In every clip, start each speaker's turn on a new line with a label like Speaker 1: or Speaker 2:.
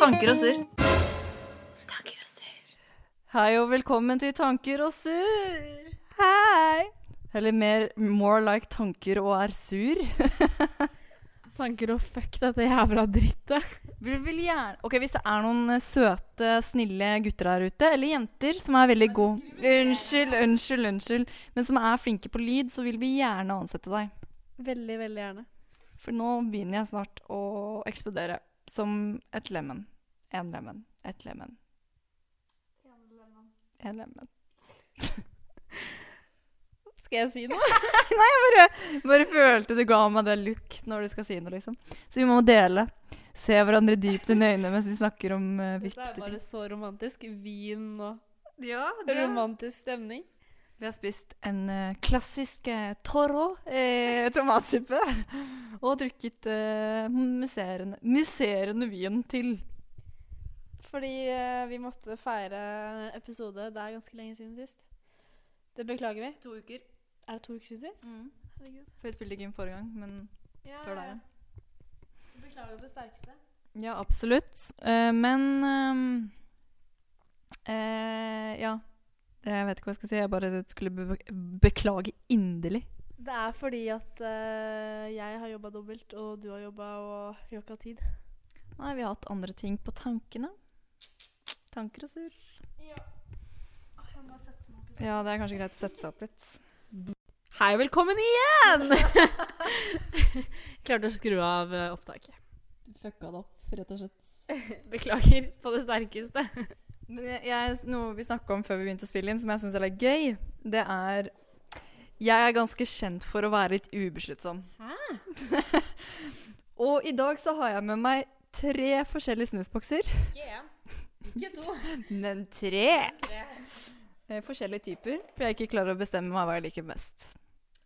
Speaker 1: Tanker og surr. Tanker og surr.
Speaker 2: Hei og velkommen til Tanker og surr.
Speaker 3: Hei!
Speaker 2: Eller mer more like tanker og er sur.
Speaker 3: Tanker og fuck dette jævla drittet.
Speaker 2: Vi vil gjerne Ok, Hvis det er noen eh, søte, snille gutter her ute, eller jenter som er veldig gode Unnskyld, unnskyld, unnskyld. Men som er flinke på lyd, så vil vi gjerne ansette deg.
Speaker 3: Veldig, veldig gjerne.
Speaker 2: For nå begynner jeg snart å eksplodere. Som et lemen. En lemen. Et lemen. En lemen.
Speaker 3: Skal jeg si noe?
Speaker 2: Bare, bare følte du ga meg det look når du skal si noe, liksom. Så vi må dele. Se hverandre dypt inn i øynene mens vi snakker om eh,
Speaker 3: Dette
Speaker 2: viktige
Speaker 3: er
Speaker 2: ting.
Speaker 3: bare så romantisk. Vin og
Speaker 2: Ja,
Speaker 3: romantisk stemning.
Speaker 2: Vi har spist en eh, klassisk eh, toro eh, tomatsuppe. Og drukket eh, musserende, musserende vin til.
Speaker 3: Fordi eh, vi måtte feire episode. Det er ganske lenge siden sist. Det beklager vi.
Speaker 2: To uker.
Speaker 3: Er det to uker siden sist?
Speaker 2: Mm.
Speaker 3: Herregud.
Speaker 2: For jeg spilte ikke inn forrige gang, men
Speaker 3: Ja,
Speaker 2: før der.
Speaker 3: Beklager på det sterkeste.
Speaker 2: Ja, absolutt. Eh, men eh, eh, Ja. Jeg vet ikke hva jeg skal si. Jeg bare skulle be beklage inderlig.
Speaker 3: Det er fordi at eh, jeg har jobba dobbelt, og du har jobba, og vi har ikke hatt tid.
Speaker 2: Nei, vi har hatt andre ting på tankene. Tanker og surr.
Speaker 3: Jeg må sette meg opp
Speaker 2: Ja, det er kanskje greit å sette seg opp litt.
Speaker 3: Hei, velkommen igjen! Klarte å skru av eh, opptaket.
Speaker 2: Du fucka det opp, rett og slett.
Speaker 3: Beklager på det sterkeste.
Speaker 2: Men jeg, jeg, noe vi snakka om før vi begynte å spille inn, som jeg syns er litt gøy, det er Jeg er ganske kjent for å være litt ubesluttsom. og i dag så har jeg med meg tre forskjellige snusbokser.
Speaker 3: Ikke én, ikke to.
Speaker 2: Men tre! Eh, Forskjellige typer, for jeg ikke klarer å bestemme meg hva jeg liker best.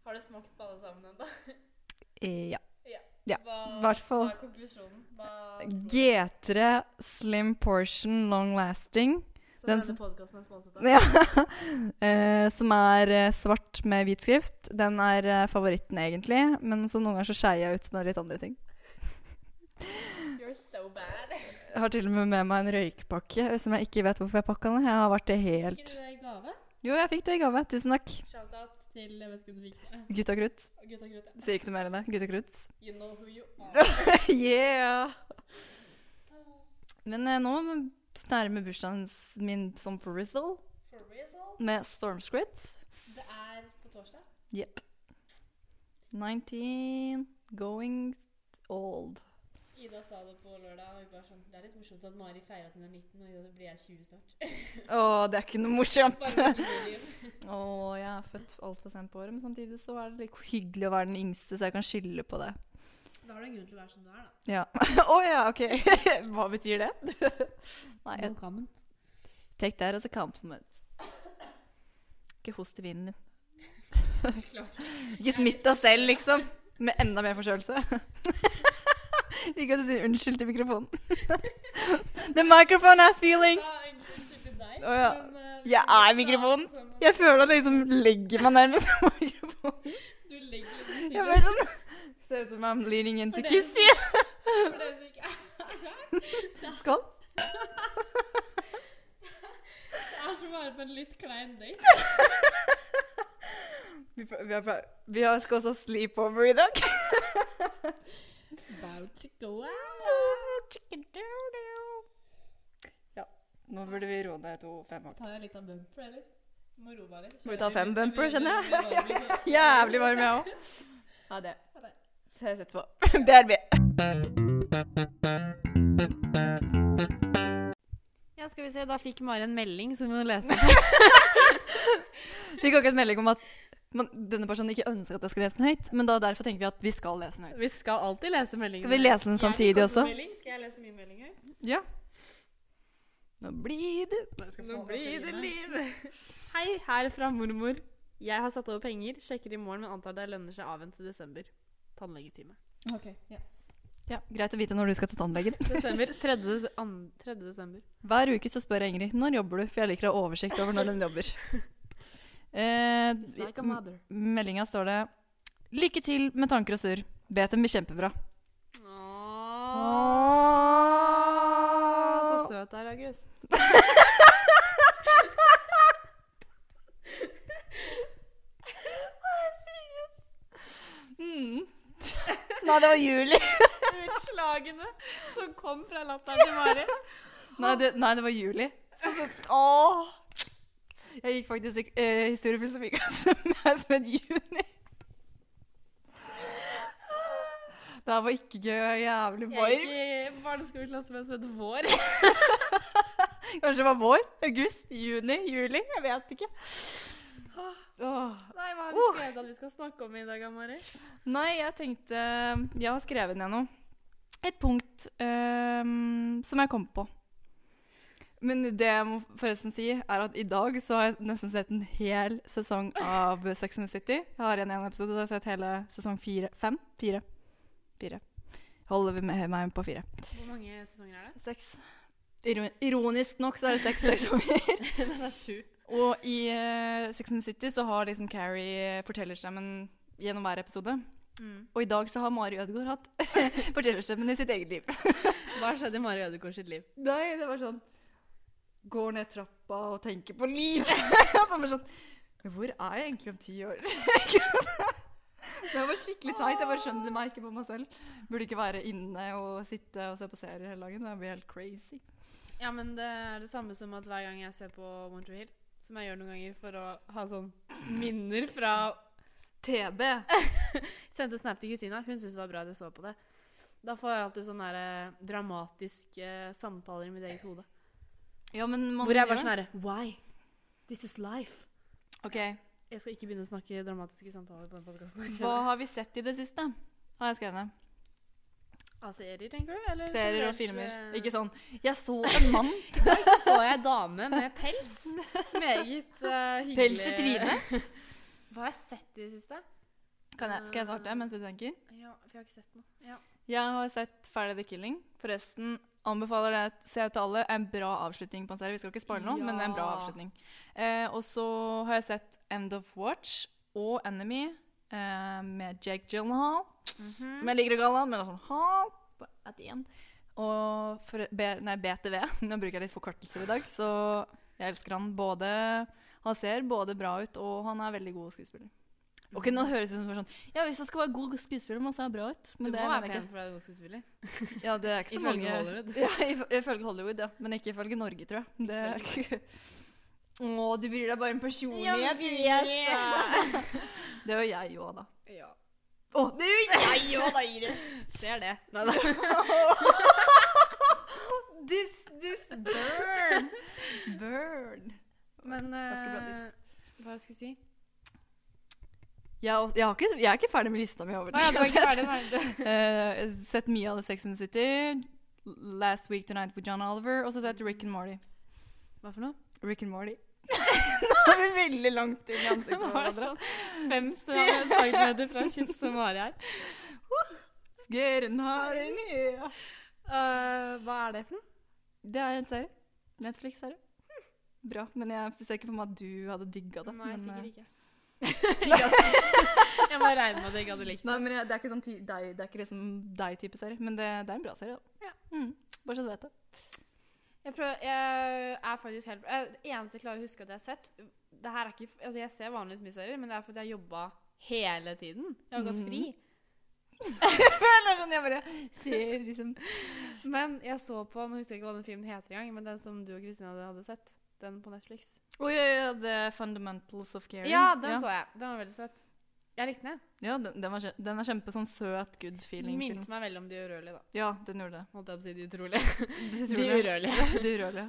Speaker 3: Har du smakt på alle sammen ennå?
Speaker 2: Eh, Ja. Ja,
Speaker 3: Hva,
Speaker 2: hvert fall. hva
Speaker 3: er konklusjonen?
Speaker 2: G3 Slim Portion Long Lasting.
Speaker 3: så
Speaker 2: den denne som-
Speaker 3: podkasten er sponset
Speaker 2: Ja. Eh, som er eh, svart med hvit skrift. Den er eh, favoritten, egentlig. Men så noen ganger så skeier jeg ut med litt andre ting.
Speaker 3: You're so bad.
Speaker 2: Jeg har til og med med meg en røykepakke som jeg ikke vet hvorfor jeg pakka den. Jeg har vært det helt
Speaker 3: det i gave?
Speaker 2: Jo, jeg fikk det i gave. Tusen takk.
Speaker 3: Shout-out til jeg vet ikke om du fikk det.
Speaker 2: Gutta krutt.
Speaker 3: Gutta krutt. ja.
Speaker 2: Sier ikke noe mer enn det. Gutta krutt.
Speaker 3: You know who you are.
Speaker 2: yeah! Men eh, nå nærmer bursdagen s- min som for Rizzle
Speaker 3: For reason.
Speaker 2: med Stormscript.
Speaker 3: Det er på torsdag.
Speaker 2: Jepp. 19 going old.
Speaker 3: Ida sa det på lørdag. og hun var sånn, Det er litt morsomt at Mari feirer at hun er 19, og Ida, da blir jeg 20 snart.
Speaker 2: Å, det er ikke noe morsomt.
Speaker 3: Bare ikke bli liv.
Speaker 2: Å, jeg er født altfor sent på året, men samtidig så er det litt hyggelig å være den yngste, så jeg kan skylde på det.
Speaker 3: Da har du en grunn til å være som du er, da.
Speaker 2: Ja. Å ja, OK. Hva betyr det? Nei, jeg-
Speaker 3: Velkommen.
Speaker 2: take that as a compliment. altså, Ikke host i vinden din.
Speaker 3: Beklager.
Speaker 2: Ikke smitt deg selv, liksom. Med enda mer forkjølelse. Liker at du sier unnskyld til mikrofonen. The microphone has feelings.
Speaker 3: Ja, egentlig unnskyld til deg,
Speaker 2: Å, ja.
Speaker 3: men, eh,
Speaker 2: Jeg er
Speaker 3: du
Speaker 2: mikrofonen.
Speaker 3: sånn at
Speaker 2: Jeg føler at jeg liksom legger meg nærmest mikrofonen.
Speaker 3: Du legger litt musikk
Speaker 2: Jeg bare sånn Ser ut som I'm leaning into kiss you.
Speaker 3: for dere som ikke
Speaker 2: Skål.
Speaker 3: Det er som å være på en litt klein date.
Speaker 2: Vi, pr- vi, har, pr- vi har skal også sleepover i dag.
Speaker 3: About to go
Speaker 2: Ja. Nå burde vi roe ned to fem hakk.
Speaker 3: Tar jeg litt av bumper, eller? Må roe meg litt.
Speaker 2: Må vi ta fem bumper, skjønner
Speaker 3: jeg?
Speaker 2: Jævlig varm, jeg òg. Ha det. Ses etterpå. BRB.
Speaker 3: Ja, skal vi se. Da fikk Mari en melding som hun leste.
Speaker 2: Vi kan ikke en melding om at man, denne personen ikke ønsker at jeg skal lese den høyt, men da derfor tenker vi at vi skal lese den høyt.
Speaker 3: Vi skal alltid lese meldinger.
Speaker 2: Skal vi lese den samtidig også?
Speaker 3: Skal jeg lese min melding her?
Speaker 2: Ja. Nå blir det
Speaker 3: Nå blir det
Speaker 2: liv.
Speaker 3: Hei, her fra mormor. Jeg har satt over penger, sjekker i morgen, men antar det lønner seg avvente desember. Tannlegetime.
Speaker 2: Ja, Greit å vite når du skal til tannlegen.
Speaker 3: Desember. 3. des- an- 3. desember.
Speaker 2: Hver uke så spør jeg Ingrid når jobber du, for jeg liker å ha oversikt over når hun jobber. Eh,
Speaker 3: Like a mother.
Speaker 2: meldinga står det Lykke til med tanker og surr. Vet den blir kjempebra.
Speaker 3: Åh.
Speaker 2: Åh.
Speaker 1: Nei, det var Julie.
Speaker 2: Utslagene som kom fra latteren til Mari. Nei, det, nei, det var Juli.
Speaker 1: Åh.
Speaker 2: Jeg gikk faktisk ikke- eh, historiefilosofiklasse med ei som het Juni. Det her var ikke gøy. Jeg er jævlig
Speaker 3: Jeg
Speaker 2: varm.
Speaker 3: gikk i barneskoleklasse med en som het Vår.
Speaker 2: Kanskje det var vår? August? Juni? Juli? Jeg vet ikke. Åh.
Speaker 3: Nei, hva har vi skrevet at vi skal snakke om i dag, Mari?
Speaker 2: Nei, jeg tenkte Jeg har skrevet ned noe. Et punkt ehm, som jeg kom på. Men det jeg må forresten si, er at i dag så har jeg nesten sett en hel sesong av Sex and the City. Jeg har igjen én episode, så jeg har sett hele sesong fire. Fem? Fire. Fire. Holder vi med meg på fire.
Speaker 3: Hvor mange sesonger er det?
Speaker 2: Seks. Iro- Ironisk nok så er det seks sesonger.
Speaker 3: Den er sju.
Speaker 2: Og i eh, Sex and the City så har liksom Carrie fortellerstemmen gjennom hver episode.
Speaker 3: Mm.
Speaker 2: Og i dag så har Mari Ødegaard hatt fortellerstemmen i sitt eget liv.
Speaker 3: Hva har skjedd i Mari Ødegaard sitt liv?
Speaker 2: Nei, det var sånn Går ned trappa og tenker på livet. Og så bare sånn Hvor er jeg egentlig om ti år? det var skikkelig teit. Jeg bare skjønner meg ikke på meg selv. Burde ikke være inne og sitte og se på serier hele dagen. Det blir helt crazy.
Speaker 3: Ja, men det er det samme som at hver gang jeg ser på Montreux Hill, som jeg gjør noen ganger for å ha sånn minner fra
Speaker 2: TB.
Speaker 3: Sendte snap til Kristina. Hun syntes det var bra at jeg så på det. Da får jeg alltid sånne der, eh, dramatiske samtaler i mitt eget hode.
Speaker 2: Ja, men man
Speaker 3: Hvor jeg
Speaker 2: gjør
Speaker 3: bare sånn
Speaker 2: det.
Speaker 3: herre Why? This is life.
Speaker 2: Ok,
Speaker 3: Jeg skal ikke begynne å snakke dramatiske samtaler på den podkasten.
Speaker 2: Hva har vi sett i det siste? Har jeg skrevet ned.
Speaker 3: Av serier, tenker du? Eller
Speaker 2: Serier og
Speaker 3: generelt,
Speaker 2: filmer.
Speaker 3: eh,
Speaker 2: Ikke sånn 'jeg så en mann'.
Speaker 3: I dag så, så jeg dame med pels. Meget eh, hyggelig.
Speaker 2: Pels i trynet.
Speaker 3: Hva har jeg sett i det siste?
Speaker 2: Kan jeg, skal jeg svare det mens du tenker?
Speaker 3: Ja, for jeg har ikke sett noe. Ja.
Speaker 2: Jeg har sett 'Ferdig the Killing'. Forresten anbefaler jeg å se til alle. En bra avslutning på en serie. Vi skal ikke spoile noe, men det er en bra
Speaker 3: Ja.
Speaker 2: avslutning. Eh, og så har jeg sett 'End of Watch' og 'Enemy' eh, med Jake Gyllenhaal.
Speaker 3: Mhm.
Speaker 2: Som jeg liker å kalle han, men det er sånn ha, på- at igjen. Og for, B, nei, BTV. Nå bruker jeg litt forkortelser i dag, så jeg elsker han både Han ser både bra ut, og han er veldig god skuespiller. Ok,
Speaker 3: Mhm.
Speaker 2: nå høres det ut som sånn Ja, hvis jeg skal være god skuespiller, må jeg se bra ut. Men
Speaker 3: Du
Speaker 2: det
Speaker 3: må
Speaker 2: mener
Speaker 3: være
Speaker 2: jeg ikke.
Speaker 3: pen for å være god skuespiller.
Speaker 2: Ja, det er ikke så
Speaker 3: Ifølge
Speaker 2: mange
Speaker 3: Hollywood.
Speaker 2: Ja, if- ifølge Hollywood, ja. Men ikke ifølge Norge, tror jeg. Det er ikke... Å, du bryr deg bare om personen. jeg vet det. Det gjør jeg jo, da.
Speaker 3: Ja.
Speaker 2: Å, det gjør jeg!
Speaker 3: Ser det. Neida.
Speaker 2: This, this burn. Burn.
Speaker 3: Men
Speaker 2: Ganske bra
Speaker 3: eh,
Speaker 2: diss.
Speaker 3: Hva skal jeg si?
Speaker 2: Jeg, har også- jeg, har ikke, jeg er ikke ferdig med lista mi. over
Speaker 3: Nei, det var ikke ferdig. Nei, det.
Speaker 2: Eh, jeg har sett mye av The Sex and the City. Last Week Tonight with John Oliver. Og så har jeg sett Rick and Morty.
Speaker 3: Hva for noe?
Speaker 2: Rick and Morty. Nå er vi veldig langt inn i ansiktet på
Speaker 3: Nå var det
Speaker 2: hverandre.
Speaker 3: sånn fem centimeter fra kyss som Mari her.
Speaker 2: Skeren har en ø.
Speaker 3: Eh, hva er det for noe?
Speaker 2: Det er en serie. Netflix-serie. Bra. Men jeg ser ikke for meg at du hadde digga det.
Speaker 3: Nei,
Speaker 2: men,
Speaker 3: sikkert
Speaker 2: eh,
Speaker 3: ikke. jeg bare regner med at jeg ikke hadde likt det.
Speaker 2: Nei, men jeg, Det er ikke sånn ty deg, det er ikke liksom deg-type serie, men det, det er en bra serie. da.
Speaker 3: Ja.
Speaker 2: Mm. Bare så du vet det.
Speaker 3: Jeg, prøver, jeg er faktisk helt jeg, Det eneste jeg klarer å huske at jeg har sett det her er ikke, altså Jeg ser vanligvis mye serier, men det er fordi jeg har jobba hele tiden. Jeg har gått
Speaker 2: Mm.
Speaker 3: fri.
Speaker 2: Eller sånn, jeg bare ser liksom
Speaker 3: Men jeg så på Nå husker jeg ikke hva den filmen heter engang, men den som du og Kristina hadde sett. Den på Netflix.
Speaker 2: Å ja, ja, The Fundamentals of Caring.
Speaker 3: Ja, den
Speaker 2: ja.
Speaker 3: så jeg. Den var veldig søt. Jeg likte den.
Speaker 2: Ja, den, den, var, kje- den er kjempe sånn søt good
Speaker 3: jeg.
Speaker 2: feeling-film.
Speaker 3: Minte meg veldig om De urørlige, da.
Speaker 2: Ja, den gjorde det.
Speaker 3: Holdt jeg på å si De utrolige.
Speaker 2: De
Speaker 3: De urørlige.
Speaker 2: De urørlige.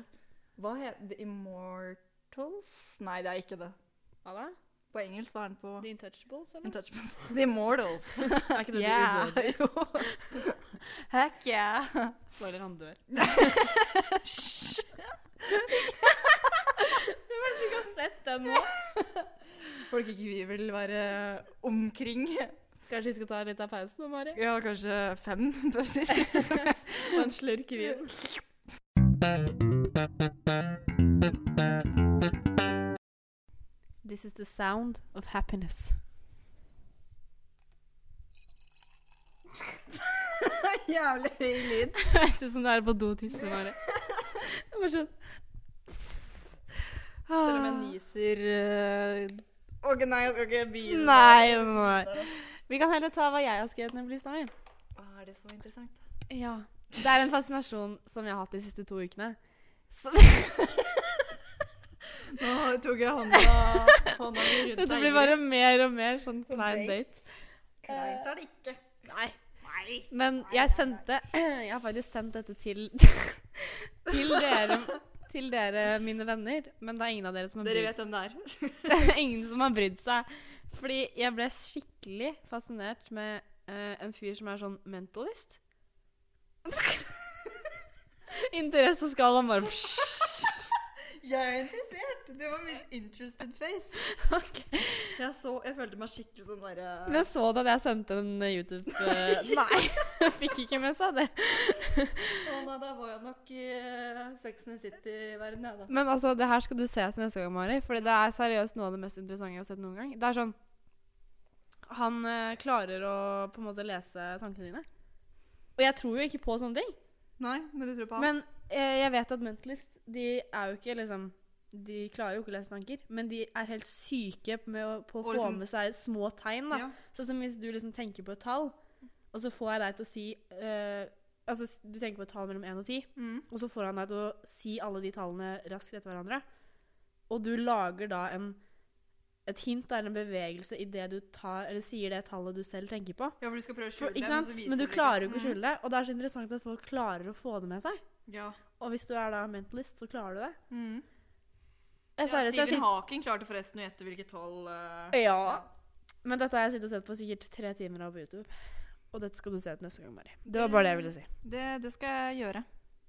Speaker 2: Hva heter The Immortals? Nei, det er ikke det.
Speaker 3: Hva da?
Speaker 2: På engelsk var den på
Speaker 3: The Untouchables, eller?
Speaker 2: Untouchables. The Immortals.
Speaker 3: Er ikke det De
Speaker 2: Yeah.
Speaker 3: udødelige?
Speaker 2: Jo. Heck yeah.
Speaker 3: Spoiler, han dør.
Speaker 2: Hysj.
Speaker 3: Jeg har sett den nå.
Speaker 2: Folk ikke vi vil være omkring.
Speaker 3: Kanskje vi skal ta litt av pausen nå, Mari?
Speaker 2: Ja, kanskje fem pauser. som jeg-
Speaker 3: Og en slurk vin. This is the sound of happiness.
Speaker 1: Jævlig høy lyd.
Speaker 3: Høres ut som du er på do og tisser, Mari. Jeg bare sånn
Speaker 2: Selv om jeg nyser eh, Ok, nei, jeg skal ikke begynne.
Speaker 3: Nei, nei. Vi kan heller ta hva jeg har skrevet ned på lista mi.
Speaker 2: er det så interessant.
Speaker 3: Ja. Det er en fascinasjon som jeg har hatt de siste to ukene. Så
Speaker 2: Nå tok jeg hånda, hånda mi rundt
Speaker 3: det blir bare mer og mer sånn klein
Speaker 1: date.
Speaker 3: dates.
Speaker 1: Kleint er det ikke. Nei. Nei.
Speaker 3: Men jeg sendte Jeg har faktisk sendt dette til Til dere, til dere mine venner. Men det er ingen av dere som har
Speaker 2: Dere
Speaker 3: brydd,
Speaker 2: vet hvem det er.
Speaker 3: det er ingen som har brydd seg. Fordi jeg ble skikkelig fascinert med eh, en fyr som er sånn mentalist. Interesseskala bare
Speaker 2: Jeg er interessert. Det var min interested face.
Speaker 3: Ok.
Speaker 2: Jeg, så, jeg følte meg skikkelig sånn derre
Speaker 3: Men så du at jeg sendte en eh, YouTube eh, Nei, fikk ikke med seg det.
Speaker 2: Å nei, da var jeg nok i eh, Sex and the City-verden, jeg, da.
Speaker 3: Men altså, det her skal du se til neste gang, Mari. Fordi det er seriøst noe av det mest interessante jeg har sett noen gang. Det er sånn Han eh, klarer å på en måte lese tankene dine. Og jeg tror jo ikke på sånne ting.
Speaker 2: Nei, men du tror på han?
Speaker 3: Men eh, jeg vet at mentalist, de er jo ikke liksom De klarer jo ikke å lese tanker, men de er helt syke med å, på å
Speaker 2: Og
Speaker 3: få
Speaker 2: liksom-
Speaker 3: med seg små tegn. da
Speaker 2: ja.
Speaker 3: Sånn som hvis du liksom tenker på et tall, og så får jeg deg til å si eh, Altså, s- du tenker på et tall mellom 1 og 10,
Speaker 2: Mm.
Speaker 3: og så får han deg til å si alle de tallene raskt etter hverandre. Og du lager da en et hint eller en bevegelse i det du tar, eller sier det tallet du selv tenker på.
Speaker 2: ja, for du skal prøve å
Speaker 3: For,
Speaker 2: skjule
Speaker 3: ikke
Speaker 2: men
Speaker 3: sant?
Speaker 2: så viser
Speaker 3: Men du
Speaker 2: det
Speaker 3: klarer jo ikke å
Speaker 2: Mm.
Speaker 3: skjule det. Og det er så interessant at folk klarer å få det med seg.
Speaker 2: Ja.
Speaker 3: Og hvis du er da mentalist, så klarer du det.
Speaker 2: Mm. Ja,
Speaker 3: Jeg, seriøst, jeg
Speaker 2: Stephen
Speaker 3: sitter,
Speaker 2: Hawking klarte forresten å gjette hvilket tall eh,
Speaker 3: ja. Men dette har jeg sittet og sett på sikkert tre timer av på YouTube. Og dette skal du se til neste gang, Mari. Det var bare det jeg ville si.
Speaker 2: det, det skal jeg gjøre.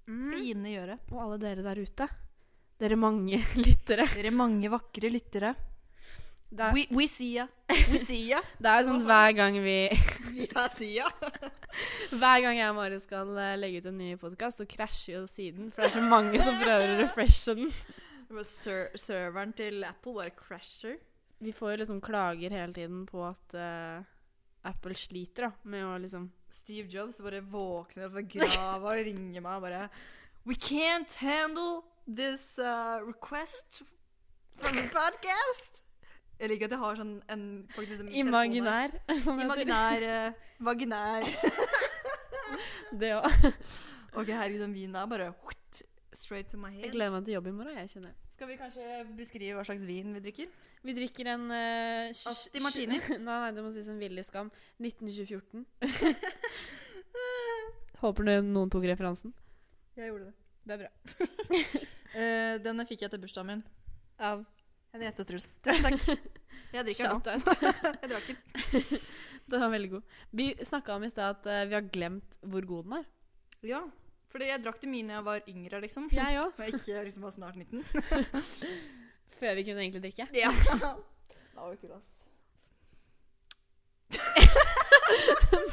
Speaker 2: Skal Ine gjøre.
Speaker 3: Og alle dere der ute. Dere mange lyttere.
Speaker 2: Dere mange vakre lyttere.
Speaker 3: Det er,
Speaker 2: We, we see ya. We see ya.
Speaker 3: det er jo sånn hver gang vi
Speaker 2: Ja, see ya.
Speaker 3: Hver gang jeg og Mari skal eh, legge ut en ny podkast, så krasjer jo siden. For det er så mange som prøver å refreshe den.
Speaker 2: Det var ser serveren til Apple bare crasher.
Speaker 3: Vi får jo liksom klager hele tiden på at eh, Apple sliter da, med å liksom
Speaker 2: Steve Jobs bare våkner fra grava og ringer meg og bare We can't handle this uh, request from the podcast. Jeg liker at jeg har sånn en faktisk en telefon her.
Speaker 3: Imaginær. Sånn heter det.
Speaker 2: Imaginær. eh, vaginær.
Speaker 3: det òg.
Speaker 2: Ok, herregud, den vinen er bare straight to my
Speaker 3: Jeg
Speaker 2: head.
Speaker 3: gleder meg til jobb i morgen, jeg kjenner.
Speaker 2: Skal vi kanskje beskrive hva slags vin vi drikker?
Speaker 3: Vi drikker en eh, tj-
Speaker 2: Asti Martini.
Speaker 3: Nei, nei, det må sies en villig skam. 192014. Håper du noen tok referansen.
Speaker 2: Jeg gjorde det.
Speaker 3: Det er bra.
Speaker 2: Eh, denne fikk jeg til bursdagen min.
Speaker 3: Av
Speaker 2: Henriette og Truls. Tusen takk. Jeg drikker den nå.
Speaker 3: Shout-out.
Speaker 2: Jeg drakk den.
Speaker 3: Den var veldig god. Vi snakka om i stad at eh, vi har glemt hvor god den er.
Speaker 2: Ja, for jeg drakk det mye når jeg var yngre, liksom.
Speaker 3: Jeg òg.
Speaker 2: Når jeg ikke liksom var snart 19.
Speaker 3: Før vi kunne egentlig drikke.
Speaker 2: Ja. Det var jo kul, ass.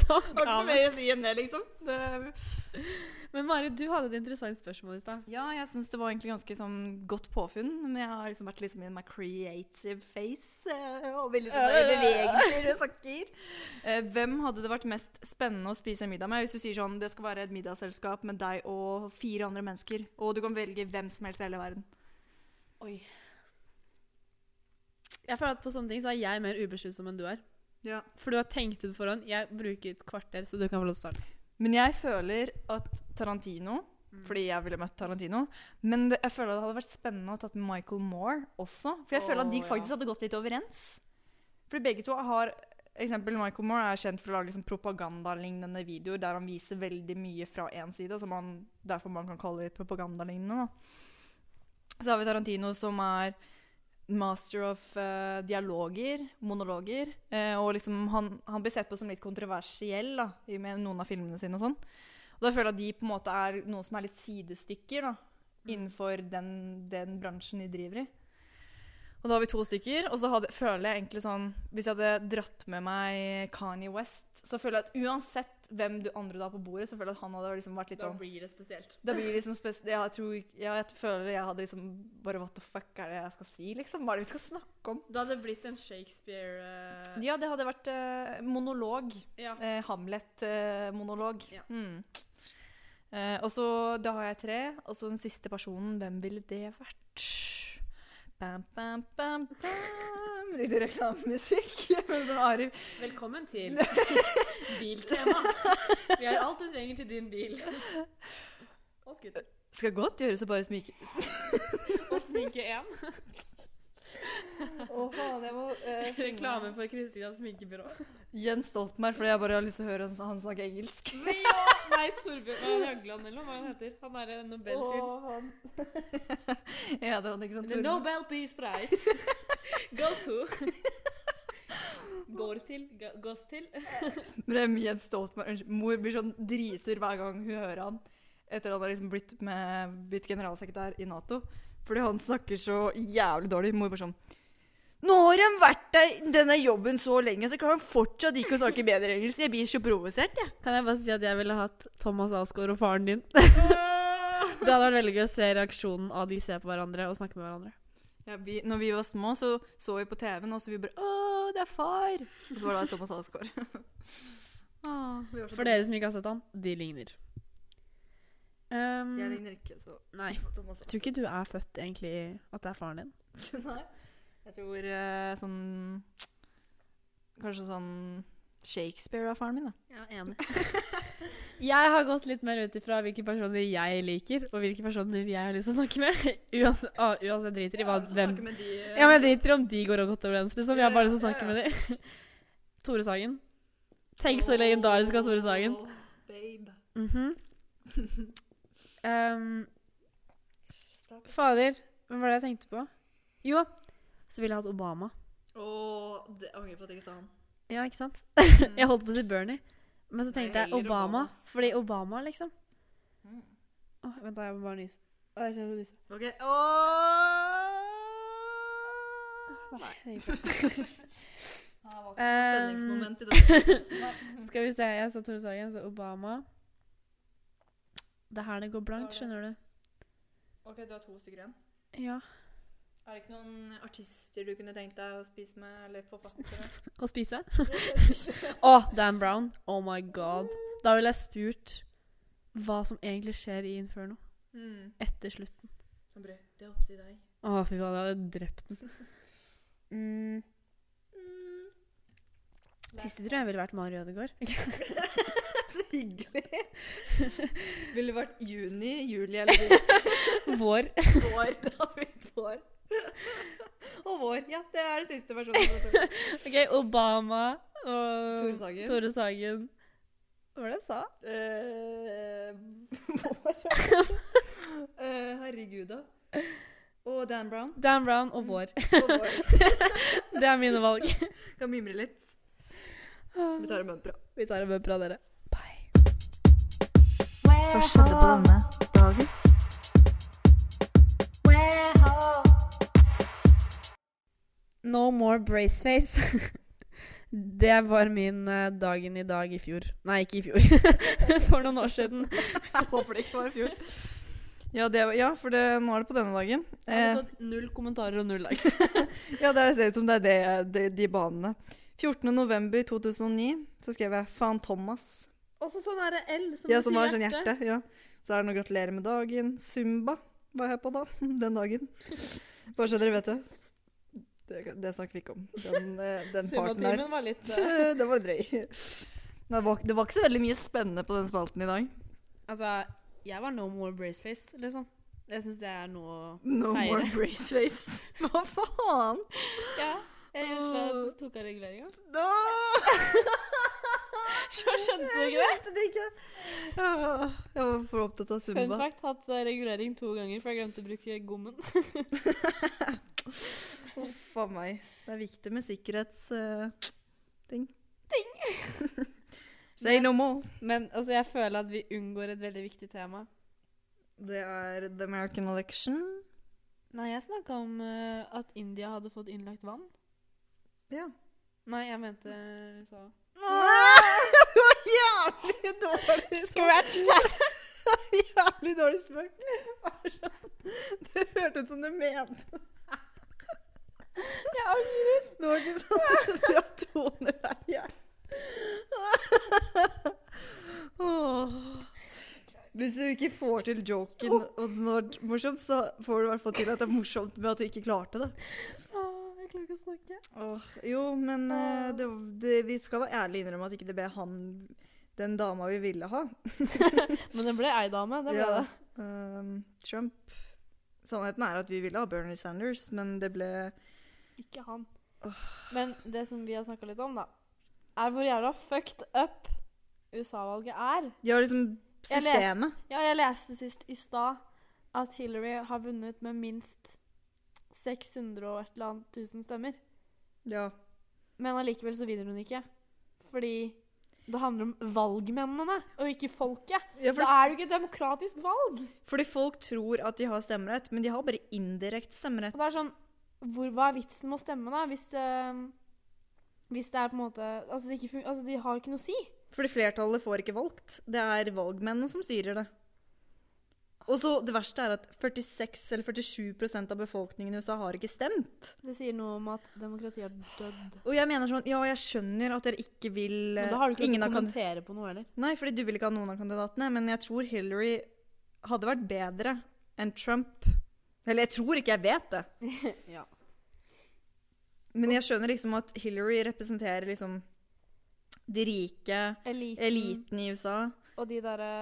Speaker 2: Har ikke noe mer å si enn det, liksom. Det...
Speaker 3: Men Mari, du hadde et interessant spørsmål i stad.
Speaker 2: Ja, jeg syns det var egentlig ganske sånn godt påfunn. Men jeg har liksom vært liksom in my creative face eh, og veldig sånn der bevegelser og snakker. Eh, Hvem hadde det vært mest spennende å spise en middag med? Hvis du sier sånn, det skal være et middagsselskap med deg og fire andre mennesker, og du kan velge hvem som helst i hele verden. Oi.
Speaker 3: Jeg føler at På sånne ting så er jeg mer ubesluttsom enn du er.
Speaker 2: Ja.
Speaker 3: For du har tenkt ut forhånd. Jeg bruker et kvarter, så du kan få lov til å starte.
Speaker 2: Men jeg føler at Tarantino fordi jeg ville møtt Tarantino. Men det, jeg føler det hadde vært spennende å ha tatt med Michael Moore også. For jeg føler at de
Speaker 3: Åh, ja.
Speaker 2: faktisk hadde gått litt overens. For begge to har eksempel Michael Moore er kjent for å lage liksom propagandalignende videoer der han viser veldig mye fra én side, som han, derfor man kan kalle det propagandalignende. Da. Så har vi Tarantino som er master of eh, dialoger, monologer. eh, og liksom han, han blir sett på som litt kontroversiell da, i- med noen av filmene sine og sånn. Og da føler jeg at de på en måte er noen som er litt sidestykker da, innenfor den, den bransjen de driver i. Og da har vi to stykker, og så hadde, føler jeg egentlig sånn Hvis jeg hadde dratt med meg Kanye West, så føler jeg at uansett hvem du andre da på bordet, så føler jeg at han hadde liksom vært litt sånn
Speaker 3: blir det spesielt.
Speaker 2: det blir liksom spes jeg, tror, ja, jeg føler jeg hadde liksom Bare what the fuck er det jeg skal si, liksom? Hva er det vi skal snakke om?
Speaker 3: Det hadde blitt en Shakespeare eh,
Speaker 2: Ja, det hadde vært eh, monolog.
Speaker 3: ja.
Speaker 2: Eh, Hamlet-monolog.
Speaker 3: Ja.
Speaker 2: mm. eh, og så Da har jeg tre. Og så den siste personen, hvem ville det vært? Bam, bam, bam, bam. brukte reklamemusikk. Men som Ari
Speaker 4: Velkommen til biltema. Vi har alt du trenger til din bil. Og scooter.
Speaker 2: skal godt gjøres å bare smike.
Speaker 4: Og sminke én.
Speaker 2: Å, faen, jeg må eh, finne-
Speaker 4: Reklame for Kristinas sminkebyrå.
Speaker 2: Jens Stoltenberg, fordi jeg bare har lyst til å høre han, han snakke engelsk.
Speaker 4: Ja, nei, Torbjørn Hva er det, Jagland eller noe? hva han heter. Han er en
Speaker 2: Å,
Speaker 4: Nobelfyr.
Speaker 2: han. jeg heter han ikke sant?
Speaker 4: The
Speaker 2: Torbjørn?
Speaker 4: Nobel Peace Prize goes to Går til. ga- Gås til.
Speaker 2: Men det er mye en Stoltenberg Unnskyld, Mor blir sånn dritsur hver gang hun hører han. Etter han har liksom blitt, med, blitt generalsekretær i Nato. Fordi han snakker så jævlig dårlig. Mor bare sånn Nå har han vært der i denne jobben så lenge, så klarer han fortsatt ikke å snakke bedre engelsk. Jeg blir så provosert, jeg.
Speaker 3: Kan jeg bare si at jeg ville hatt Thomas Alsgaard og faren din? det hadde vært veldig gøy å se reaksjonen av de ser på hverandre og snakker med hverandre.
Speaker 2: Ja, vi, når vi var små, så så vi på TV-en, og så vi bare Å, det er far! Og så var det Thomas Alsgaard. Ah, vi var så
Speaker 3: For dere som ikke har sett han, de ligner. Um,
Speaker 2: dumme. Jeg ligner ikke så
Speaker 3: Nei.
Speaker 2: Thomas
Speaker 3: Jeg tror ikke du er født egentlig at det er faren din.
Speaker 2: Nei. Jeg tror eh, sånn Kanskje sånn Shakespeare er faren min, da.
Speaker 3: Ja, enig. jeg har gått litt mer ut ifra hvilke personer jeg liker, og hvilke personer jeg har lyst til å snakke med. Uansett, ah, uansett jeg driter i hva hvem
Speaker 2: med de eh,
Speaker 3: Ja, men jeg driter i om de går godt overens, liksom. Jeg har bare lyst til å
Speaker 2: Ja, ja,
Speaker 3: snakke med de. Tore Sagen. Tenk så legendarisk av Tore Sagen.
Speaker 2: Babe.
Speaker 3: Mhm. Ehm, fader, hvem var det jeg tenkte på? Jo, så ville jeg hatt Obama.
Speaker 2: Åh, det jeg angrer på at jeg ikke sa han.
Speaker 3: Ja, ikke sant? jeg holdt på å si Bernie, men så tenkte jeg
Speaker 4: heller
Speaker 3: Obama.
Speaker 4: Obama, ass.
Speaker 3: Fordi Obama, liksom.
Speaker 2: Mm.
Speaker 3: Åh, vent, da, jeg må bare nyse. Åh, jeg kjenner å nyse.
Speaker 2: OK. Åh!
Speaker 3: Nei, det gikk bra.
Speaker 2: Det var ikke noe
Speaker 3: Ehm,
Speaker 2: spenningsmoment i den
Speaker 3: Skal vi se, jeg sa Tore Sagen, så Obama. Det er her det går blankt, skjønner du.
Speaker 2: OK, du har to stykker igjen.
Speaker 3: Ja.
Speaker 2: Er det ikke noen artister du kunne tenkt deg å spise med, eller forfattere?
Speaker 3: Å spise? Å, Dan Brown. Oh my god. Da ville jeg spurt hva som egentlig skjer i Inferno
Speaker 2: mm.
Speaker 3: etter slutten.
Speaker 2: Han bare, Det er opp til deg.
Speaker 3: Å, fy faen, jeg hadde drept den. Mm. Siste tror jeg ville vært Mari Ødegaard.
Speaker 2: Mm. Så hyggelig. Ville det vært juni, juli eller august?
Speaker 3: Vår.
Speaker 2: vår? Da hadde vi et vår. Og vår. Ja, det er det siste personen.
Speaker 3: Ok, Obama og
Speaker 2: Tore Sagen.
Speaker 3: Tore Sagen. Hva var det jeg sa?
Speaker 2: Uh, vår. Eh, herregud, da. Og Dan Brown.
Speaker 3: Dan Brown og Vår.
Speaker 2: Og vår.
Speaker 3: Det er mine valg.
Speaker 2: Kan mimre litt. Vi tar en bra.
Speaker 3: Vi tar en bumper av dere. Bye.
Speaker 1: Hva skjedde på denne dagen?
Speaker 3: No more braceface. Det var min eh, dagen i dag i fjor. Nei, ikke i fjor. For noen år siden.
Speaker 2: Jeg håper det ikke var i fjor. Ja, det, var- ja for det, nå er det på denne dagen.
Speaker 3: Jeg
Speaker 2: Eh,
Speaker 3: har fått null kommentarer og null likes.
Speaker 2: Ja, det er- ser ut som det er det, det, de banene. 14.11.2009 så skrev jeg 'Faen Thomas'.
Speaker 4: Også sånn derre L som
Speaker 2: Ja, som
Speaker 4: betyr
Speaker 2: har sånn hjerte. Ja. Så er det noe 'Gratulerer med dagen'. Zumba var jeg på da, den dagen. Bare så dere vet det. Det, det snakker vi ikke om. Den, eh, den parten der.
Speaker 4: Summatimen var litt eh,
Speaker 2: Den var drøy. Nei, Det var, det var ikke så veldig mye spennende på den spalten i dag.
Speaker 3: Altså, jeg var no more braceface, liksom. Jeg syns det er noe
Speaker 2: No
Speaker 3: Feire.
Speaker 2: more braceface. Hva faen?
Speaker 3: Ja. Jeg rett og slett tok av reguleringa.
Speaker 2: Da!
Speaker 3: Så skjønte du ikke det?
Speaker 2: Jeg skjønte det ikke. Ja, Jeg var for opptatt av Zumba.
Speaker 3: Fun fact hatt eh, regulering to ganger, for jeg glemte å bruke gommen.
Speaker 2: Uff a meg. Det er viktig med sikkerhetsting. ting. Say no more.
Speaker 3: Men altså, jeg føler at vi unngår et veldig viktig tema.
Speaker 2: Det er the American election.
Speaker 3: Nei, jeg snakka om eh, at India hadde fått innlagt vann.
Speaker 2: Ja.
Speaker 3: Nei, jeg mente USA.
Speaker 2: Nei, det var jævlig dårlig
Speaker 3: Scratch that!
Speaker 2: Jævlig dårlig spøk. Det hørtes ut som du mente Jeg angrer. Det var ikke sånn fra toner der jeg Åh. Hvis du ikke får til joken, og den var morsom, så får du i hvert fall til at det er morsomt med at du ikke klarte det.
Speaker 3: Åh, Jeg klarer ikke å snakke.
Speaker 2: Åh, jo, men eh, det, det, vi skal være ærlig innrømme at ikke det ble han den dama vi ville ha.
Speaker 3: Men det ble ei dame. Det ble
Speaker 2: Ja,
Speaker 3: det.
Speaker 2: ehm, Trump Sannheten er at vi ville ha Bernie Sanders, men det ble
Speaker 3: Ikke han. Men det som vi har snakka litt om, da, er hvor jævla fucked up USA-valget er.
Speaker 2: Ja, liksom
Speaker 3: Jeg leste-
Speaker 2: systemet.
Speaker 3: Ja, jeg leste sist i stad at Hillary har vunnet med minst 600 og et eller annet tusen stemmer.
Speaker 2: Ja.
Speaker 3: Men allikevel så vinner hun ikke. Fordi det handler om valgmennene, og ikke folket.
Speaker 2: ja
Speaker 3: Da
Speaker 2: fordi,
Speaker 3: er det jo ikke et demokratisk valg.
Speaker 2: fordi folk tror at de har stemmerett, men de har bare indirekte stemmerett.
Speaker 3: Og det er sånn hvor, Hva er vitsen med å stemme, da? Hvis, eh, hvis det er på en måte Altså, det ikke fun altså de har jo ikke noe å si.
Speaker 2: Fordi flertallet får ikke valgt. Det er valgmennene som styrer det. Og så Det verste er at 46 eller 47 av befolkningen i USA har ikke stemt.
Speaker 3: Det sier noe om at demokratiet er dødd.
Speaker 2: Og jeg mener sånn Ja, jeg skjønner at dere ikke vil
Speaker 3: Men da har du ikke
Speaker 2: ingen
Speaker 3: lov
Speaker 2: av
Speaker 3: til å
Speaker 2: kand-
Speaker 3: kommentere på noe heller.
Speaker 2: Nei, fordi du vil ikke ha noen av kandidatene, men jeg tror Hillary hadde vært bedre enn Trump. Eller jeg tror ikke jeg vet det.
Speaker 3: Ja.
Speaker 2: Men jeg skjønner liksom at Hillary representerer liksom de rike,
Speaker 3: Eliten,
Speaker 2: eliten i USA.
Speaker 3: og de derre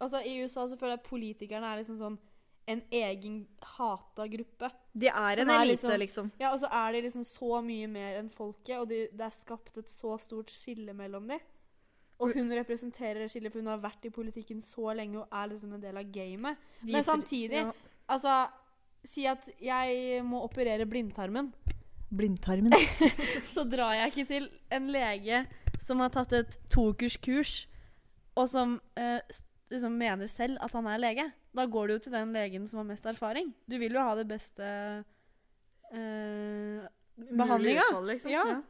Speaker 3: Altså, i USA så føler jeg politikerne er liksom sånn en egen hata gruppe.
Speaker 2: De er
Speaker 3: Som
Speaker 2: en
Speaker 3: er
Speaker 2: elite,
Speaker 3: liksom-
Speaker 2: liksom.
Speaker 3: Ja, og så er de liksom så mye mer enn folket, og de, det er skapt et så stort skille mellom dem. Og hun representerer det skillet, for hun har vært i politikken så lenge og er liksom en del av gamet. Men
Speaker 2: Viser-
Speaker 3: samtidig,
Speaker 2: ja.
Speaker 3: altså Si at jeg må operere blindtarmen.
Speaker 2: Blindtarmen.
Speaker 3: Så drar jeg ikke til en lege som har tatt et tokerskurs, og som eh, s- liksom mener selv at han er lege. Da går du jo til den legen som har mest erfaring. Du vil jo ha det beste eh,
Speaker 2: Mulig
Speaker 3: Behandlinga?
Speaker 2: utfall, liksom.
Speaker 3: Ja.
Speaker 2: Ja.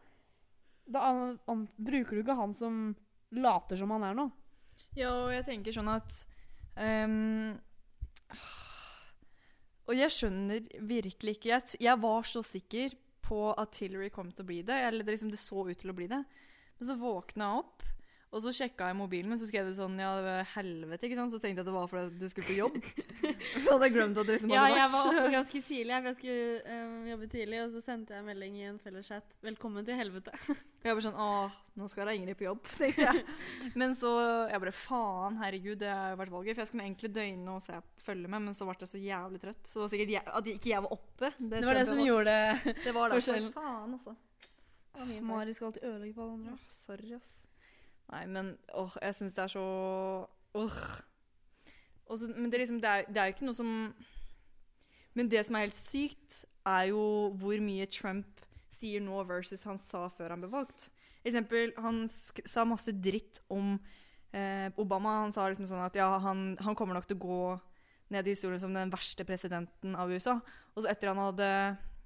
Speaker 3: Da an, an, bruker du ikke han som later som han er noe.
Speaker 2: Ja, og jeg tenker sånn at ehm, Og jeg skjønner virkelig ikke jeg, t- jeg var så sikker på at Hillary kom til å bli det. Eller det, liksom, det så ut til å bli det. Men så våkna jeg opp, og så sjekka jeg mobilen min, så skrev det sånn Ja, det var helvete, ikke sant? Så tenkte jeg at det var fordi du skulle på jobb. For da hadde jeg glemt at det liksom
Speaker 3: Ja,
Speaker 2: hadde
Speaker 3: jeg
Speaker 2: vært.
Speaker 3: var oppe ganske tidlig, jeg, for jeg skulle eh, jobbe tidlig, og så sendte jeg en melding i en felles chat. 'Velkommen til helvete'.
Speaker 2: Og jeg bare sånn Å, nå skal da Ingrid på jobb, tenkte jeg. Men så jeg bare faen, herregud, det har jo vært valget. For jeg skulle egentlig døgne og se, følge med, men så ble jeg så jævlig trøtt. Så det var sikkert jeg, at ikke jeg var oppe.
Speaker 3: Det
Speaker 2: tror
Speaker 3: var
Speaker 2: jeg
Speaker 3: det som
Speaker 2: var-
Speaker 3: gjorde
Speaker 2: det var derfor.
Speaker 3: forskjellen.
Speaker 2: Faen, altså. Det var min feil.
Speaker 3: Mari skal alltid ødelegge for alle andre.
Speaker 2: Åh, sorry, ass. Nei, men åh, jeg syns det er så Åh. Og så- men det er, liksom, det, er, det er jo ikke noe som Men det som er helt sykt, er jo hvor mye Trump sier nå versus han sa før han ble valgt. Eksempel, han sk sa masse dritt om eh, Obama. Han sa liksom sånn at ja, han, han kommer nok til å gå ned i historien som den verste presidenten av USA. Og så etter han hadde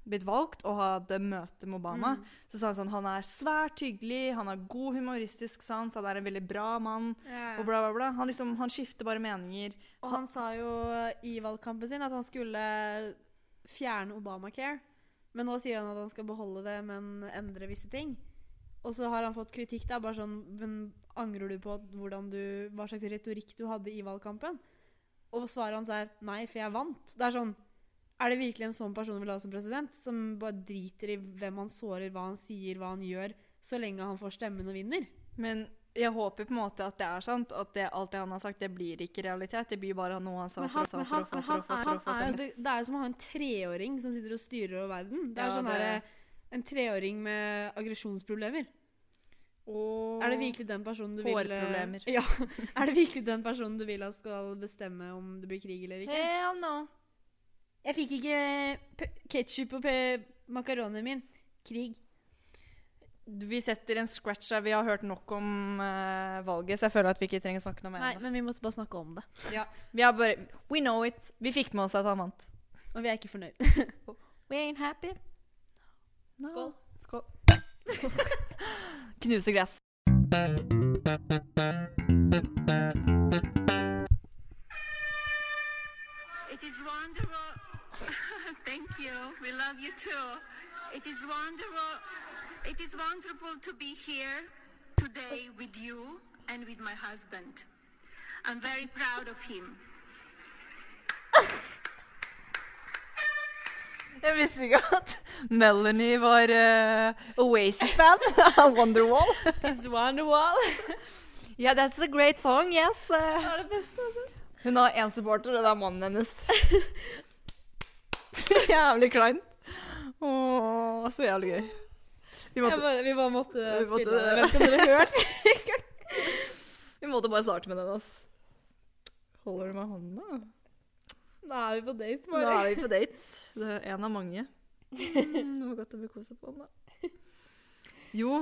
Speaker 2: blitt valgt og hadde møte med Obama, så sa han sånn Han er svært hyggelig, han har god humoristisk sans, han er en veldig bra mann, og bla, bla, bla. Han, liksom, han skifter bare meninger.
Speaker 3: Og han sa jo i valgkampen sin at han skulle fjerne Obamacare. Men nå sier han at han skal beholde det, men endre visse ting. Og så har han fått kritikk. da, bare sånn, men Angrer du på at- hvordan du, hva slags retorikk du hadde i valgkampen? Og svaret hans er nei, for jeg vant. Det er sånn, er det virkelig en sånn person vi vil ha som president? Som bare driter i hvem han sårer, hva han sier, hva han gjør, så lenge han får stemmen og vinner?
Speaker 2: Men jeg håper på en måte at det er sant, at det, alt det han har sagt, det blir ikke realitet. Det blir bare noe han sa
Speaker 3: Men
Speaker 2: for
Speaker 3: han,
Speaker 2: å sa
Speaker 3: men
Speaker 2: for å
Speaker 3: han,
Speaker 2: få
Speaker 3: men
Speaker 2: for å få
Speaker 3: han,
Speaker 2: for
Speaker 3: er-
Speaker 2: å
Speaker 3: han
Speaker 2: få for
Speaker 3: er
Speaker 2: å
Speaker 3: jo, det, det er jo som å ha en treåring som sitter og styrer over verden. Det er
Speaker 2: Ja,
Speaker 3: sånn
Speaker 2: det-
Speaker 3: derre- en treåring med aggresjonsproblemer. Er det virkelig den personen du vil eh,
Speaker 2: Hårproblemer.
Speaker 3: Ja. Er det virkelig den personen du vil at skal bestemme om det blir krig eller ikke?
Speaker 2: Hell no.
Speaker 3: Jeg fikk ikke p- ketsjup på p- makaronien min. Krig.
Speaker 2: Vi setter en scratch her. Vi har hørt nok om eh, valget, så jeg føler at vi ikke trenger å snakke noe mer
Speaker 3: Nei,
Speaker 2: om det.
Speaker 3: men vi måtte bare snakke om det.
Speaker 2: Ja. Vi har bare We know it. Vi fikk med oss at han vant.
Speaker 3: Og vi er ikke fornøyd.
Speaker 2: We ain't happy. No.
Speaker 3: Skål.
Speaker 2: Skål. Knuse gress.
Speaker 1: It is wonderful. Thank you. We love you too. It is wonderful. It is wonderful to be here today with you and with my husband. I'm very proud of him.
Speaker 2: Jeg visste ikke at Melanie var eh, Oasis-fan av Wonderwall.
Speaker 3: It's Wonderwall.
Speaker 2: Yeah, that's a great song, yes. Eh,
Speaker 3: Det er det beste, altså.
Speaker 2: Hun har én supporter, og det er mannen hennes. jævlig kleint. Åh, så jævlig gøy. Vi
Speaker 3: Jeg
Speaker 2: måtte,
Speaker 3: bare, vi bare måtte
Speaker 2: Vi måtte-
Speaker 3: spille den. Jeg vet ikke om dere har hørt.
Speaker 2: vi måtte bare starte med den, ass. Holder du meg i hånda?
Speaker 3: Nå er vi på date,
Speaker 2: Nå
Speaker 3: bare.
Speaker 2: er vi på date. Det er en av mange. Mm, det var godt å bli koset på den, da. Jo.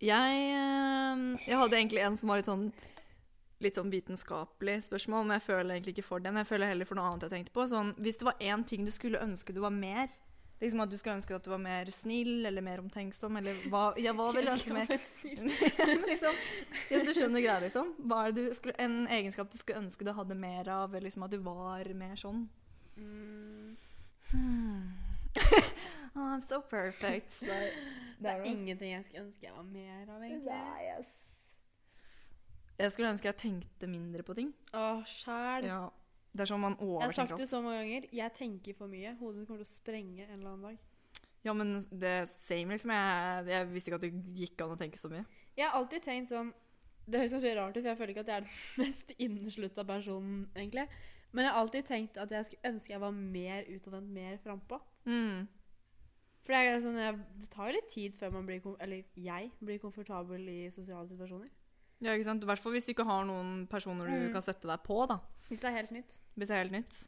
Speaker 2: Jeg, eh, jeg hadde egentlig en som var litt sånn litt sånn vitenskapelig spørsmål, men jeg føler egentlig ikke for den. Jeg føler heller for noe annet jeg tenkte på. Sånn, hvis det var én ting du skulle ønske du var mer Liksom At du skulle ønske at du var mer snill eller mer omtenksom eller hva, ja, hva vil du ønske mer? Men liksom, ja, du skjønner greia, liksom. Hva er det du skulle, en egenskap du skulle ønske du hadde mer av, eller liksom at du var mer sånn?
Speaker 3: Mm,
Speaker 2: Hmm. oh, I'm so perfect.
Speaker 4: Det er,
Speaker 2: Det er noe.
Speaker 4: ingenting jeg skulle ønske jeg var mer av, egentlig.
Speaker 2: Jeg skulle ønske jeg tenkte mindre på ting.
Speaker 3: Å, sjæl.
Speaker 2: Ja. Det er sånn man
Speaker 3: Jeg har sagt
Speaker 2: overtenker alt.
Speaker 3: det så mange ganger. Jeg tenker for mye. Hodet mitt kommer til å sprenge en eller annen dag.
Speaker 2: Ja, men det same, liksom. Jeg, jeg visste ikke at det gikk an å tenke så mye.
Speaker 3: Jeg har alltid tenkt sånn Det høres kanskje rart ut, for jeg føler ikke at jeg er den mest inneslutta personen, egentlig. Men jeg har alltid tenkt at jeg skulle ønske jeg var mer utadvendt, mer frampå.
Speaker 2: Mm.
Speaker 3: For det, er sånn, jeg, det tar jo litt tid før man blir kom- Eller jeg blir komfortabel i sosiale situasjoner.
Speaker 2: Ja, ikke sant? I hvert fall hvis du ikke har noen personer du
Speaker 3: Mm.
Speaker 2: kan sette deg på, da.
Speaker 3: Hvis det er helt nytt.
Speaker 2: Hvis det er helt nytt.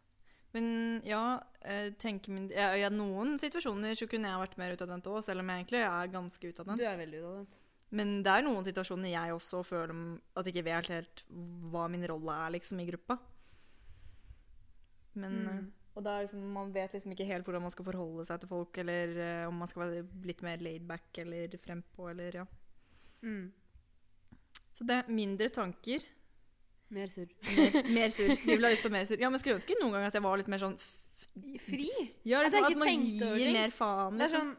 Speaker 2: Men ja, eh, tenker min, ja, ja, noen situasjoner så kunne jeg vært mer utadvendt òg, selv om jeg egentlig er ganske
Speaker 3: Du
Speaker 2: utadvendt.
Speaker 3: er veldig utadvendt.
Speaker 2: Men det er noen situasjoner jeg også føler m- at jeg ikke vet helt hva min rolle er liksom, i gruppa. Men,
Speaker 3: Mm.
Speaker 2: eh, Og det er liksom, man vet liksom ikke helt hvordan man skal forholde seg til folk, eller eh, om man skal være litt mer laidback eller frempå, eller ja.
Speaker 3: Mm.
Speaker 2: Så det er mindre tanker.
Speaker 3: Mer surr.
Speaker 2: Mer, mer sur. Vi vil ha lyst på mer sur. Ja, men skulle ønske noen ganger at jeg var litt mer sånn f-
Speaker 3: Fri!
Speaker 2: Ja,
Speaker 3: At Altså, jeg
Speaker 2: liksom,
Speaker 3: ikke
Speaker 2: at man
Speaker 3: tenkte over
Speaker 2: gir
Speaker 3: ting.
Speaker 2: mer faen.
Speaker 3: Det er
Speaker 2: Liksom.
Speaker 3: sånn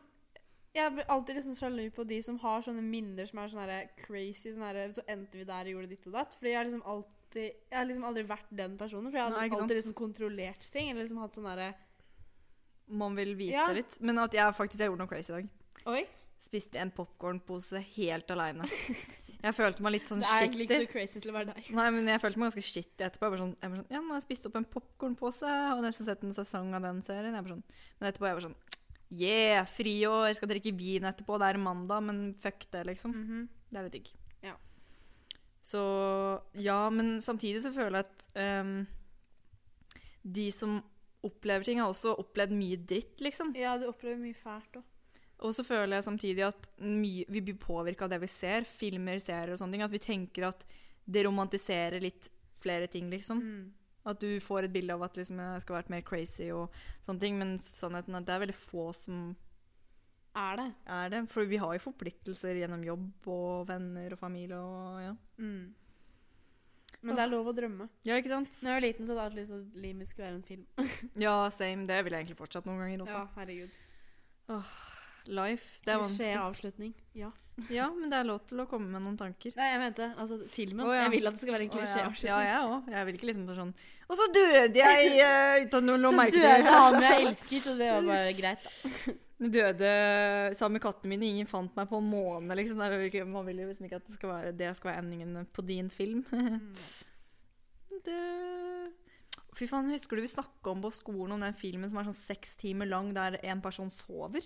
Speaker 3: Jeg blir alltid liksom sjalu på de som har sånne minner som er sånn her crazy sånn her, Så endte vi der og gjorde ditt og datt. Fordi jeg har liksom alltid Jeg har liksom aldri vært den personen. For jeg har
Speaker 2: Nei, ikke sant?
Speaker 3: alltid liksom kontrollert ting. Eller liksom hatt sånn herre
Speaker 2: Man vil vite
Speaker 3: sånn- Ja.
Speaker 2: litt. Men at jeg faktisk jeg gjorde noe crazy i dag.
Speaker 3: Oi!
Speaker 2: Spiste en popkornpose helt aleine. Jeg følte meg litt sånn
Speaker 3: Det er egentlig ikke
Speaker 2: shitty.
Speaker 3: så crazy til å være deg.
Speaker 2: Nei, men jeg følte meg ganske shitty etterpå. Jeg var sånn, jeg var sånn Ja, nå har jeg spist opp en popkornpose, og nesten sett en sesong av den serien. Jeg var sånn, men etterpå jeg var sånn Yeah, friår, jeg skal drikke vin etterpå. Det er mandag, men fuck det, liksom.
Speaker 3: Mhm.
Speaker 2: Det er litt digg.
Speaker 3: Ja.
Speaker 2: Så Ja, men samtidig så føler jeg at ehm, de som opplever ting, har også opplevd mye dritt, liksom.
Speaker 3: Ja, du opplever mye fælt òg.
Speaker 2: Og så føler jeg samtidig at mye, vi blir påvirka av det vi ser, filmer, serier og sånne ting. At vi tenker at det romantiserer litt flere ting,
Speaker 3: Mm.
Speaker 2: liksom. At du får et bilde av at liksom, jeg skal vært mer crazy og sånne ting. Men sannheten er at det er veldig få som
Speaker 3: Er det.
Speaker 2: er det. For vi har jo forpliktelser gjennom jobb og venner og familie og ja.
Speaker 3: Mm. Men det er lov å drømme.
Speaker 2: Ja, ikke sant?
Speaker 3: Når jeg var liten, så hadde jeg alltid lyst til at livet mitt skulle være en film.
Speaker 2: Ja, same. Det vil jeg egentlig fortsatt noen ganger også.
Speaker 3: Ja, herregud.
Speaker 2: Life. Det er
Speaker 3: Klisjé
Speaker 2: vanskelig.
Speaker 3: avslutning. Ja.
Speaker 2: Ja, men det er lov til å komme med noen tanker.
Speaker 3: Nei, jeg mente altså filmen.
Speaker 2: Å, ja.
Speaker 3: Jeg vil at det skal være en
Speaker 2: Å,
Speaker 3: klisjé avslutning.
Speaker 2: Ja, ja jeg òg. Jeg vil ikke liksom sånn Og så døde jeg eh, uten å la
Speaker 3: Så
Speaker 2: merke til
Speaker 3: døde han jeg elsket, og det var bare greit. da.
Speaker 2: Døde sammen med kattene mine. Ingen fant meg på en måned. Liksom. Det er jo ikke- Man vil jo liksom ikke at det skal være, det skal være endingen på din film. det Fy faen, husker du vi snakka om på skolen om den filmen som er sånn seks timer lang der en person sover?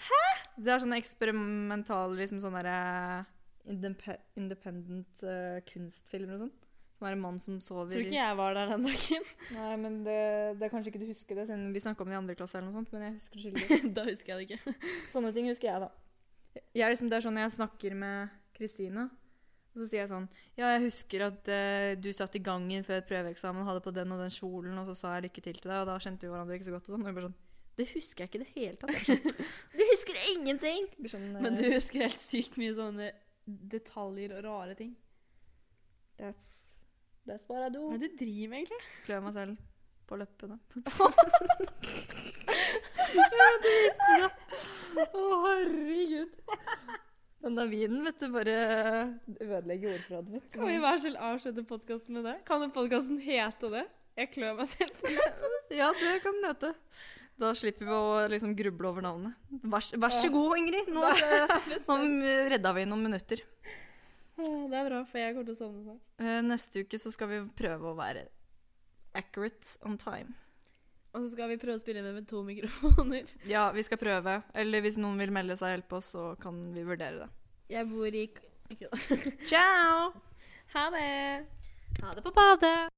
Speaker 2: Hæ?! Det er sånn eksperimental liksom sånn derre eh, indepe- Independent eh, kunstfilmer og sånn. Som er en mann som sover
Speaker 3: Tror
Speaker 2: i-
Speaker 3: ikke jeg var der den dagen.
Speaker 2: Nei, men det, det er kanskje ikke du husker det, siden vi snakka om det i andre klasse, eller noe sånt, men jeg husker det skyldig.
Speaker 3: da husker jeg det ikke.
Speaker 2: Sånne ting husker jeg, da. Jeg, er liksom, det er sånn jeg snakker med Kristine, og så sier jeg sånn Ja, jeg husker at eh, du satt i gangen før prøveeksamen, hadde på den og den kjolen, og så sa jeg lykke til til deg, og da kjente vi hverandre ikke så godt og sånn. Og jeg bare sånn Det husker jeg ikke i det hele tatt. Jeg blir sånn, Du husker ingenting! Jeg blir sånn, eh,
Speaker 3: Men du husker helt sykt mye sånne detaljer og rare ting.
Speaker 2: That's, that's what I do.
Speaker 3: Hva er det du driver med, egentlig?
Speaker 2: Klør meg selv på leppene. Å, herregud. Den der vinen, vet du, bare ødelegger ordforrådet mitt.
Speaker 3: Kan vi hver selv avslutte podkasten med det? Kan podkasten hete det? Jeg klør meg selv.
Speaker 2: Ja, det kan den hete. Da slipper vi å liksom gruble over navnet. Vær, s- vær så god, Ingrid. Nå, eh, nå redda vi noen minutter.
Speaker 3: Eh, Det er bra, for jeg kommer til å sovne snart.
Speaker 2: Eh, Neste uke så skal vi prøve å være accurate on time.
Speaker 3: Og så skal vi prøve å spille inn med to mikrofoner.
Speaker 2: Ja, vi skal prøve. Eller hvis noen vil melde seg og hjelpe oss, så kan vi vurdere det.
Speaker 3: Jeg bor i
Speaker 2: Ciao!
Speaker 3: Ha det!
Speaker 4: Ha det på badet!